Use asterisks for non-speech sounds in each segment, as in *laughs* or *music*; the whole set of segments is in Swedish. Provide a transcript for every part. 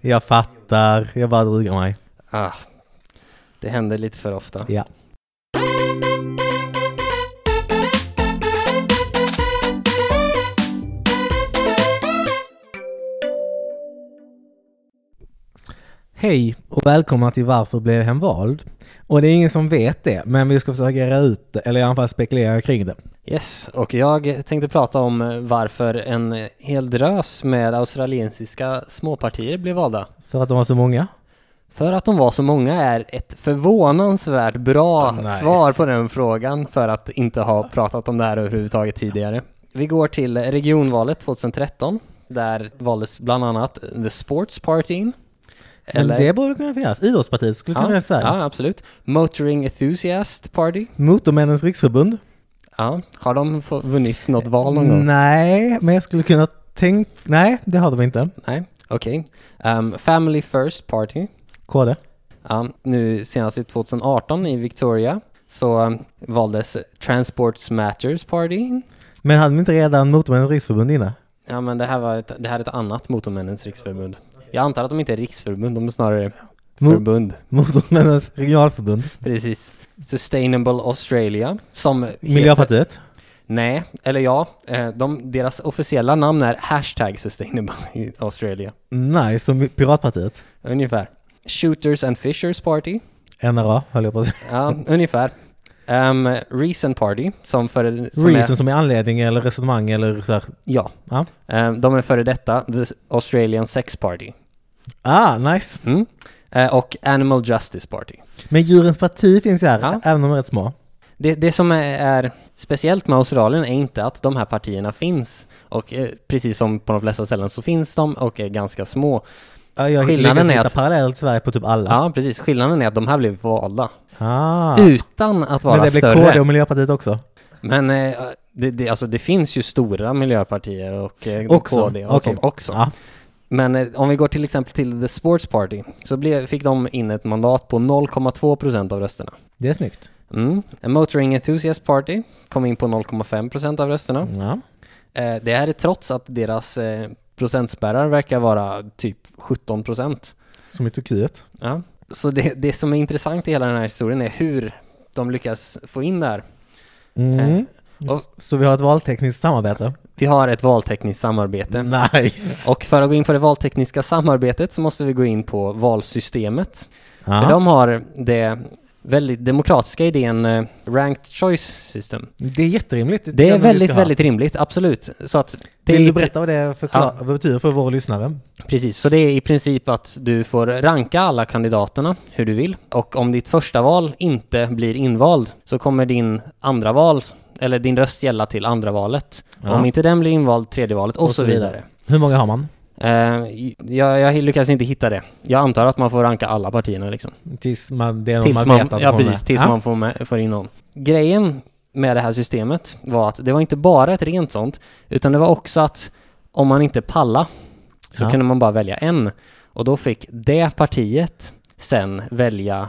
Jag fattar. Jag bara drygar mig. Ah, det händer lite för ofta. Ja. Hej och välkomna till Varför blev jag hemvald? Och det är ingen som vet det, men vi ska försöka reda ut det, eller i alla fall spekulera kring det. Yes, och jag tänkte prata om varför en hel drös med australiensiska småpartier blev valda. För att de var så många. För att de var så många är ett förvånansvärt bra Ah, nice. svar på den frågan för att inte ha pratat om det här överhuvudtaget tidigare. Vi går till regionvalet 2013. Där valdes bland annat The Sports Party in. Men det borde kunna finnas. Idrottspartiet skulle kunna ja, finnas i Sverige. ja, absolut. Motoring Enthusiast Party. Motormännens riksförbund. Ja, har de få- vunnit något val någon gång? Nej, men jag skulle kunna tänkt... Nej, det har de inte. Nej, okej. Ehm, Family First Party. KD. Ja, nu senast i 2018 i Victoria så um, valdes Transports Matters Party in. Men hade ni inte redan Motormännens riksförbund innan? Ja, men det här var ett, det här är ett annat Motormännens riksförbund. Jag antar att de inte är riksförbund, de är snarare Mot- förbund. Motormännens regionalförbund. Precis. Sustainable Australia, som... heter- Miljöpartiet. Nej, eller ja, eh, de, deras officiella namn är hashtag Sustainable Australia. Nej, som Piratpartiet. Ungefär. Shooters and Fishers Party. NRA, höll jag på att säga. *laughs* Ja, ungefär. Um, Reason Party, som för... Som är- Reason som är anledning eller resonemang eller så här. Ja. Ja. Ehm, de är före detta The Australian Sex Party. Ah, nice. Mm. Eh, och Animal Justice Party. Men djurens parti finns ju här, Ja. även om de är rätt små. Det, det som är, är speciellt med Australien är inte att de här partierna finns. Och eh, precis som på de flesta ställen så finns de och är ganska små. Ja, Jag Skillnaden lyckas är hitta att- parallellt Sverige på typ alla. Ja, precis. Skillnaden är att de här blev valda. Ah. Utan att vara Men det blev större. KD och Miljöpartiet också. Men eh, det, det, alltså, det finns ju stora miljöpartier och eh, Också. KD och Okej. sånt också. Ja. Men eh, om vi går till exempel till The Sports Party så blev, fick de in ett mandat på 0,2 procent av rösterna. Det är snyggt. Mm. A Motoring Enthusiast Party kom in på 0,5 procent av rösterna. Ja. Eh, det här är trots att deras eh, procentspärrar verkar vara typ 17 procent. Som i Turkiet. Ja. Så det, det som är intressant i hela den här historien är hur de lyckas få in det här. Mm. Eh. och- Så vi har ett valtekniskt samarbete. Vi har ett valtekniskt samarbete. Nice! Och för att gå in på det valtekniska samarbetet så måste vi gå in på valsystemet. För ja. de har det väldigt demokratiska idén eh, ranked choice system. Det är jätterimligt. Det tycker är jag vi väldigt, ska ha. väldigt rimligt, absolut. Så att det är Vill i du pri- berätta vad det förklar- vad betyder för våra lyssnare? Precis, så det är i princip att du får ranka alla kandidaterna hur du vill. Och om ditt första val inte blir invald så kommer din andra val, eller din röst gälla till andra valet. Ja. Om inte den blir invald, tredje valet och, så vidare. Hur många har man? Eh, jag, jag lyckas inte hitta det. Jag antar att man får ranka alla partierna liksom. Tills man, det är någon Tills man, man, vet att ja, de är. precis, tills Ja. man får, med, får in någon. Grejen med det här systemet var att det var inte bara ett rent sånt, utan det var också att om man inte palla så Ja. kunde man bara välja en. Och då fick det partiet sen välja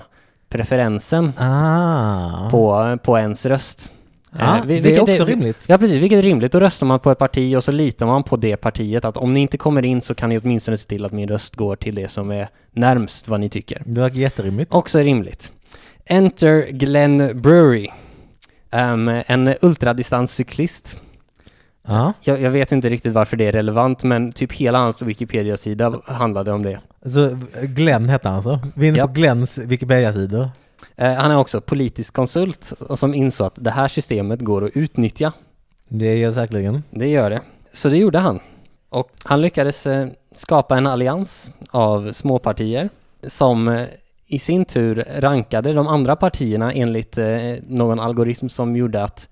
preferensen Ah. på, på ens röst. Ja, Eh, det vi- är vilket också rimligt. Ja precis, vilket är rimligt. Då röstar man på ett parti och så litar man på det partiet att om ni inte kommer in så kan ni åtminstone se till att min röst går till det som är närmst vad ni tycker. Det verkar jätterimligt. Också rimligt. Enter Glenn Brewery. Ehm, en ultradistanscyklist. Ja. Jag, jag vet inte riktigt varför det är relevant, men typ hela hans Wikipedia-sida handlade om det. Så Glenn hette han så. Vi är inne Ja. på Glenns Wikipedia-sidor. Eh, han är också politisk konsult och som insåg att det här systemet går att utnyttja. Det gör säkerligen. Det gör det. Så det gjorde han. Och han lyckades eh, skapa en allians av småpartier som eh, i sin tur rankade de andra partierna enligt eh, någon algoritm som gjorde att,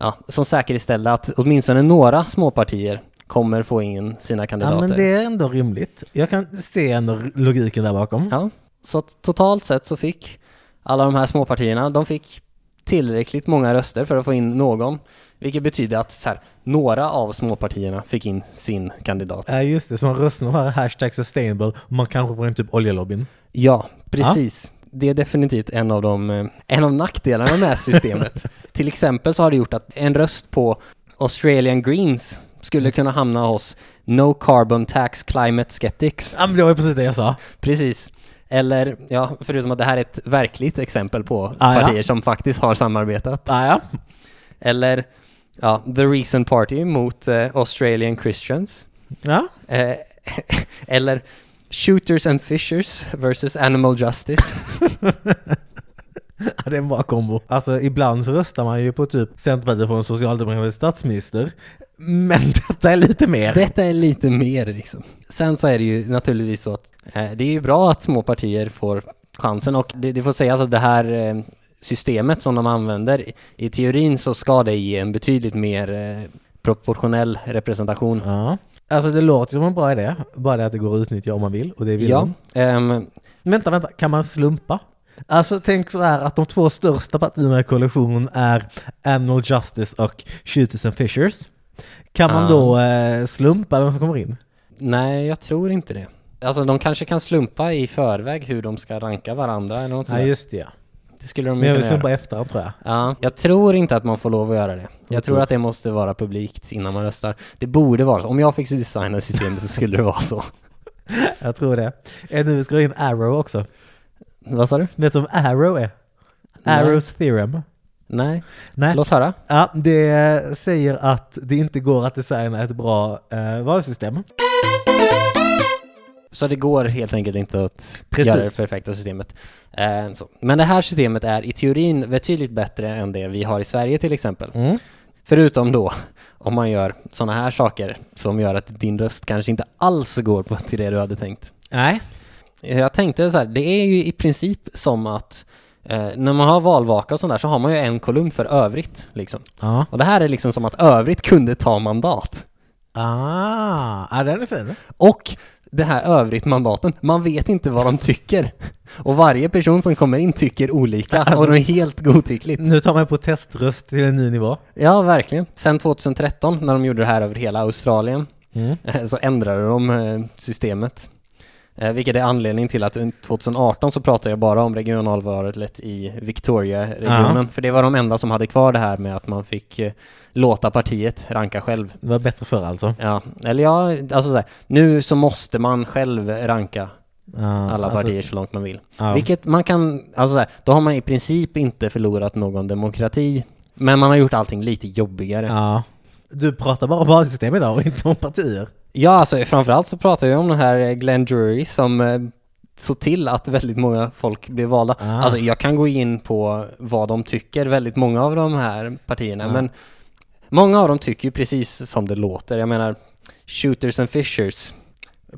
ja, som säkerställde att åtminstone några småpartier kommer få in sina Ja, kandidater. men det är ändå rimligt. Jag kan se ändå logiken där bakom. Ja. Så att totalt sett så fick alla de här småpartierna, de fick tillräckligt många röster för att få in någon. Vilket betyder att så här, några av småpartierna fick in sin kandidat. Ja, just det. Som rösten här, hashtag sustainable, och man kanske får in typ oljelobbyn. Ja, precis. Det är definitivt en av, de, eh, en *laughs* av nackdelarna med systemet. Till exempel så har det gjort att en röst på Australian Greens Mm. skulle kunna hamna hos No Carbon Tax Climate Skeptics. Ja, men det var ju precis det jag sa. Precis. Eller, ja, förutom att det här är ett verkligt exempel på Ah, ja. partier som faktiskt har samarbetat. Ah, ja. Eller, ja, The Recent Party mot eh, Australian Christians. ja. Eh, *laughs* eller Shooters and Fishers versus Animal Justice. Ja, Det är en bra kombo. Alltså ibland så röstar man ju på typ Centerpartiet för en socialdemokratisk statsminister. Men *laughs* detta är lite mer. *laughs* Detta är lite mer liksom. Sen så är det ju naturligtvis så att eh, det är ju bra att små partier får chansen och det, det får sägas att det här eh, systemet som de använder, i- i teorin så ska det ge en betydligt mer eh, proportionell representation. Ja. Alltså det låter som en bra idé. Bara det att det går att utnyttja om man vill. Och det vill Ja, de. ehm, Vänta, vänta. Kan man slumpa? Alltså tänk så här att de två största partierna i koalitionen är Animal Justice och Shooters and Fishers. Kan man Ah. då eh, slumpa vem som kommer in? nej jag tror inte det. Alltså de kanske kan slumpa i förväg hur de ska ranka varandra eller något sånt Nej, där. just det ja. Det skulle de Men ju jag vill kunna göra. slumpa efter tror jag. Ja, jag tror inte att man får lov att göra det. Jag tror tror. att det måste vara publikt innan man röstar. Det borde vara så. Om jag fick designa systemet så skulle det vara så. Jag tror det. Är nu vi ska in Arrow också. *laughs* Vad sa du? Vet du vad Arrow är? Nej. Arrows theorem. Nej, Nej, låt höra. ja, det säger att det inte går att designa ett bra eh, valsystem. Så det går helt enkelt inte att Precis. göra det perfekta systemet. Eh, så. Men det här systemet är i teorin betydligt bättre än det vi har i Sverige till exempel. Förutom då om man gör sådana här saker som gör att din röst kanske inte alls går på till det du hade tänkt. Nej. Jag tänkte så här, det är ju i princip som att eh, när man har valvaka och sånt där så har man ju en kolumn för övrigt liksom. Ja. Och det här är liksom som att övrigt kunde ta mandat. Ah, ja, den är fin. Och det här övrigt mandaten, man vet inte vad de tycker. Och varje person som kommer in tycker olika och det är helt godtyckligt. Nu tar man proteströst till en ny nivå. Ja, verkligen. Sen 2013 när de gjorde det här över hela Australien Mm. eh, så ändrade de eh, systemet. Eh, Vilket är anledningen till att un- 2018 så pratade jag bara om regionalvalet i Victoria-regionen. Ja. För det var de enda som hade kvar det här med att man fick eh, låta partiet ranka själv. Det var bättre förr alltså. Ja, eller ja, alltså så här, nu så måste man själv ranka Ah, alla alltså, partier så långt man vill. ja. Vilket man kan, alltså så här, då har man i princip inte förlorat någon demokrati. Men man har gjort allting lite jobbigare. Ja. Du pratar bara om valsystem idag och inte om partier. Ja, alltså framförallt så pratar jag om den här eh, Glenn Drury som eh, såg till att väldigt många folk blev valda. Ah. Alltså jag kan gå in på vad de tycker, väldigt många av de här partierna, Ja. men många av dem tycker ju precis som det låter. Jag menar, Shooters and Fishers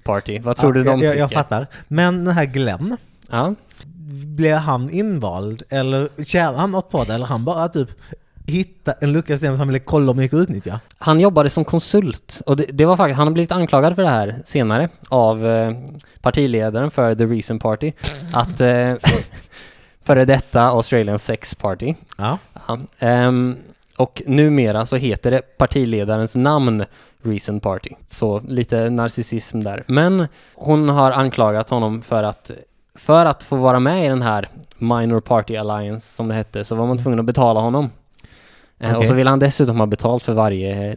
Party, vad tror du Ja, de jag, tycker? jag fattar. Men den här Glenn, Ja. blev han invald? Eller tjänade han något på det? Eller han bara typ hitta en lucka i systemet som han ville kolla om det gick att utnyttja? Han jobbade som konsult och det, det var faktiskt, han har blivit anklagad för det här senare av eh, partiledaren för The Reason Party, att eh, *laughs* före detta Australian Sex Party, Ja. Ja, ehm, och numera så heter det partiledarens namn Recent Party. Så lite narcissism där. Men hon har anklagat honom för att för att få vara med i den här Minor Party Alliance som det hette så var man tvungen att betala honom. Eh, Och Okej. så vill han dessutom ha betalt för varje, eh,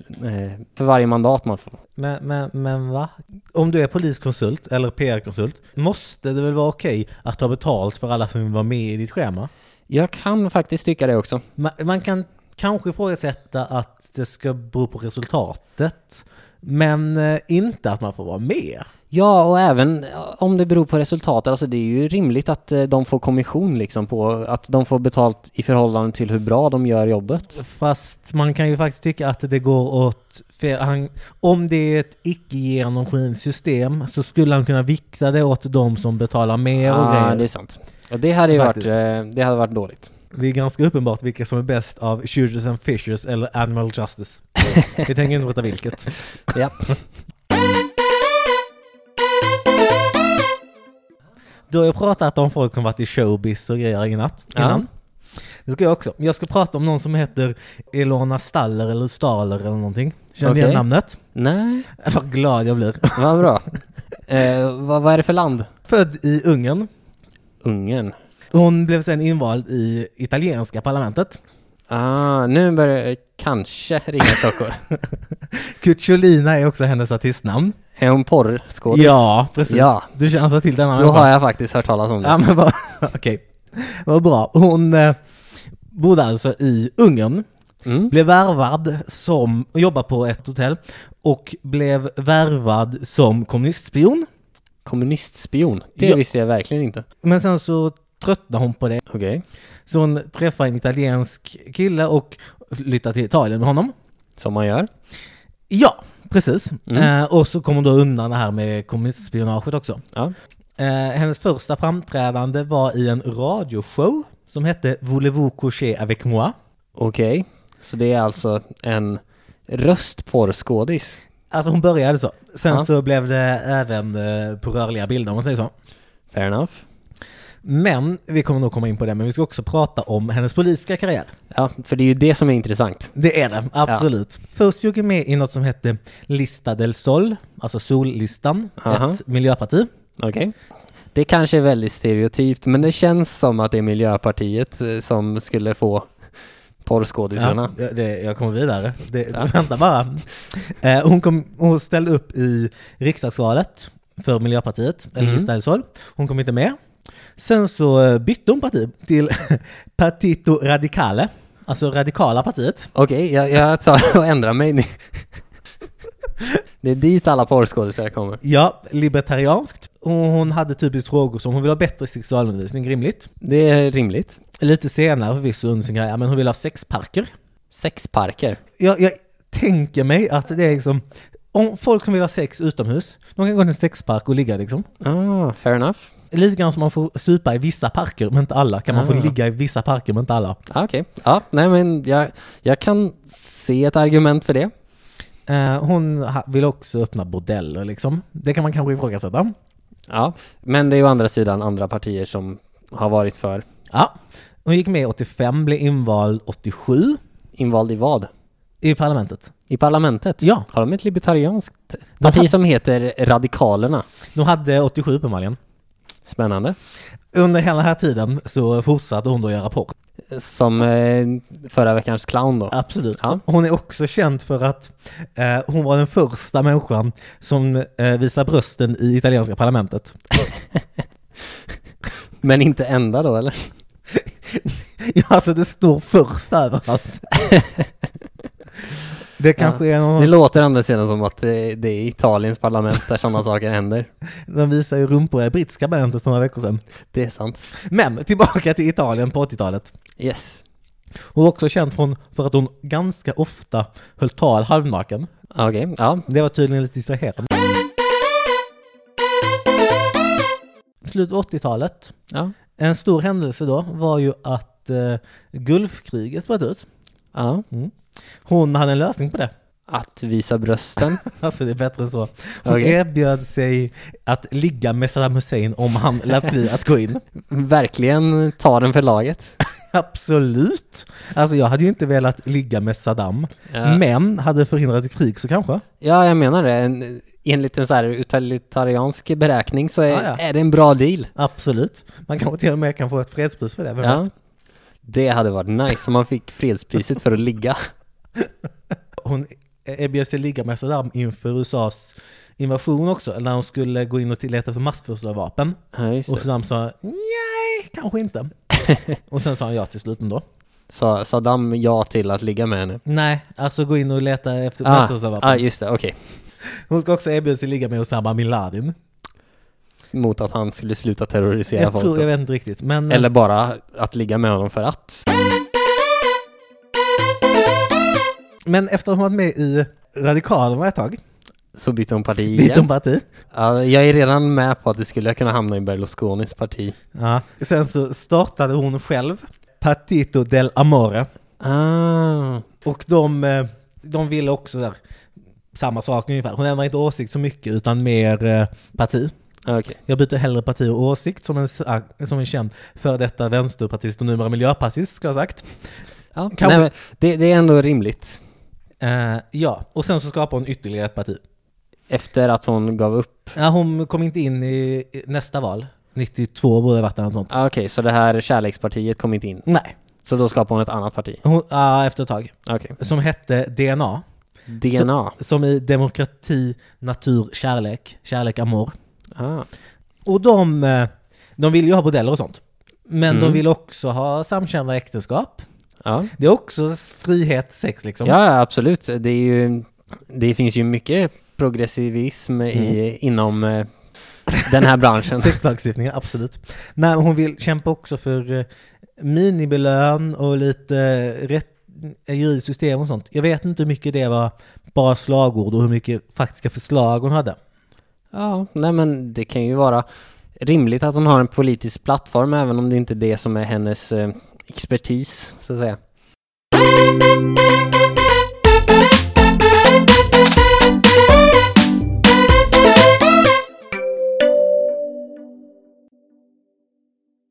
för varje mandat man får. Men, men, men va? Om du är poliskonsult eller PR-konsult, måste det väl vara okej att ta betalt för alla som vill vara med i ditt schema? Jag kan faktiskt tycka det också. Man, man kan kanske ifrågasätta att det ska bero på resultatet, men eh, inte att man får vara med. Ja, och även eh, om det beror på resultatet, alltså det är ju rimligt att eh, de får kommission liksom på att de får betalt i förhållande till hur bra de gör jobbet. Fast man kan ju faktiskt tycka att det går åt fel. Han, om det är ett icke-genomskinligt system så skulle han kunna vikta det åt de som betalar mer och Ja, grejer. Ah, det är sant. Och det hade ju varit, Faktiskt. eh, det hade varit *laughs* dåligt. Det är ganska uppenbart vilka som är bäst av Shooters and Fishers eller Animal *laughs* Justice. Vi tänker inte veta vilket. Ja. Du har ju pratat om folk som varit i showbiz och grejer innan. innan. Det ska jag också. Jag ska prata om någon som heter Elona Staller eller Staler eller någonting. Känner du igen Okej. namnet? *laughs* Nej, Vad glad jag blir. vad bra. eh, vad, vad är det för land? Född i Ungern. Ungern. Hon blev sen invald i italienska parlamentet. Ah, nu börjar det kanske ringa klockor. *laughs* Cutjolina är också hennes artistnamn. Är hon porrskådis? Ja, precis. Ja. Du känner alltså till denna Då har jag faktiskt hört talas om det. Ja, men vad, *laughs* okej. Vad bra. Hon eh, bodde alltså i Ungern, Mm. blev värvad som, jobbar på ett hotell och blev värvad som kommunistspion. Kommunistspion, det Ja. visste jag verkligen inte. Men sen så tröttnade hon på det, Okej. så hon träffade en italiensk kille och flyttade till Italien med honom. Som man gör. Ja, precis. Mm. Eh, och så kom hon då undan det här med kommunistspionaget också. Ja. Eh, hennes första framträdande var i en radioshow som hette Voulez-vous coucher avec moi? Okej. Så det är alltså en röstporrskådis. Alltså hon började så. Sen Ja. så blev det även eh, på rörliga bilder om man säger så. Fair enough. Men, vi kommer nog komma in på det, men vi ska också prata om hennes politiska karriär. Ja, för det är ju det som är intressant. Det är det, absolut. Först gick hon med i något som hette Lista del Sol, alltså Sollistan, Aha. ett miljöparti. Okej. Det kanske är väldigt stereotypt, men det känns som att det är Miljöpartiet eh, som skulle få porrskådisarna. Ja, det, jag kommer vidare. Det, Ja. *laughs* Vänta bara. Eh, hon, kom, hon ställde upp i riksdagsvalet för Miljöpartiet, eller Mm. Lista del Sol. Hon kom inte med. Sen så eh, bytte hon parti till *laughs* Partito Radicale, alltså Radikala partiet. Okej, jag, jag tar och ändrar mig nu. Det är dit alla porrskådisar kommer. Ja, libertarianskt. Och hon hade typiskt frågor som hon vill ha bättre sexualundervisning, rimligt. Det är rimligt. Lite senare förvisso under sin karriär, men hon vill ha sexparker. Sexparker. Jag, jag tänker mig att det är liksom, om folk som vill ha sex utomhus, de kan gå till en sexpark och ligga liksom. Ah, fair enough. Lite grann som man får supa i vissa parker, men inte alla. Kan man Ah. få ligga i vissa parker, men inte alla. Ah, Okej. Ja, nej men jag, jag kan se ett argument för det. Eh, hon ha- vill också öppna bordeller liksom. Det kan man kanske ifrågasätta. Ja, men det är ju å andra sidan andra partier som har varit för Ja. Hon gick med 85, blev invald 87 invald i vad? i parlamentet. I parlamentet? Ja. Har de ett libertarianskt De parti hade- som heter Radikalerna? De hade 87 uppenbarligen. Spännande. Under hela den här tiden så fortsatte hon då göra porr. Som eh, förra veckans clown då. Absolut. Ja. Hon är också känd för att eh, hon var den första människan som eh, visar brösten i italienska parlamentet. Men inte enda då eller? Ja, alltså det står första överallt. det kanske är Det någon, låter å andra sidan som att eh, det är Italiens parlament där sådana *laughs* saker händer. de visar ju rumpor i brittiska parlamentet för några veckor sedan. Det är sant. Men tillbaka till Italien på 80-talet. Yes. Hon var också känd från, för att hon ganska ofta höll tal halvnaken. Okej, ja. Det var tydligen lite distraherande. Slut av 80-talet. Ja. En stor händelse då var ju att eh, Gulfkriget bröt ut. ja. Hon hade en lösning på det. *laughs* Att visa brösten. Alltså det är bättre än så. Hon Okej. erbjöd sig att ligga med Saddam Hussein om *laughs* han lät bli att gå in. Verkligen ta den för laget. Absolut! Alltså jag hade ju inte velat ligga med Saddam, Ja. men hade förhindrat ett krig så kanske. Ja, jag menar det. En, enligt en så här utilitariansk beräkning så är, Ja, ja. är det en bra deal. Absolut. Man kanske till och med kan få ett fredspris för det. vem Ja. vet? Det hade varit nice om man fick fredspriset för att ligga. Hon e-, erbjöd sig ligga med Saddam inför USAs invasion också, eller när hon skulle gå in och leta för massförstörvapen. Ja, just Och det. Saddam sa nej, kanske *laughs* inte. och sen sa han ja till slut ändå. Sa Saddam ja till att ligga med henne? Nej, alltså gå in och leta efter Ah, massförstörvapen. ah, just det, okej. Hon ska också erbjuda sig ligga med Osama bin Laden. Mot att han skulle sluta terrorisera Jag folk tror, då. jag vet inte riktigt, men... Eller bara att ligga med honom för att. Men efter att hon varit med i Radikalerna ett tag, Så bytte hon parti igen. bytte hon parti. Ja, jag är redan med på att det skulle kunna hamna i Berlusconis parti. Ja. Sen så startade hon själv Partito del Amore. Ah, Och de, eh, de ville också där, samma sak ungefär. Hon ändrar inte åsikt så mycket utan mer eh, parti. okej. Jag byter hellre parti och åsikt som en, sa- som en känd före detta vänsterpartist och numera miljöpartist ska jag ha sagt. Ja, Kan nej, vi- men det, det är ändå rimligt. Eh, ja, och sen så skapade hon ytterligare ett parti. Efter att hon gav upp Ja, hon kom inte in i i nästa val. 92 borde det varit eller något sånt. Ah, Okej, så det här kärlekspartiet kom inte in? Nej. Så då skapade hon ett annat parti? Hon, ja, efter ett tag. Okej. Som hette DNA. DNA? Som i demokrati, natur, kärlek, kärlek, amor. Ah. Och de, eh, de vill ju ha bordeller och sånt. Men de Mm. vill också ha samkönade äktenskap. Ja. Det är också s- frihet, sex liksom. ja, absolut. Det, är ju, det finns ju mycket progressivism i, inom eh, den *laughs* här branschen. Sexlagstiftningen, absolut. Nej, hon vill kämpa också för eh, minimilön och lite eh, rätt eh, juridiskt system och sånt. Jag vet inte hur mycket det var bara slagord och hur mycket faktiska förslag hon hade. Ja, nej men det kan ju vara rimligt att hon har en politisk plattform även om det inte är det som är hennes eh, expertis, så att säga. Thank you.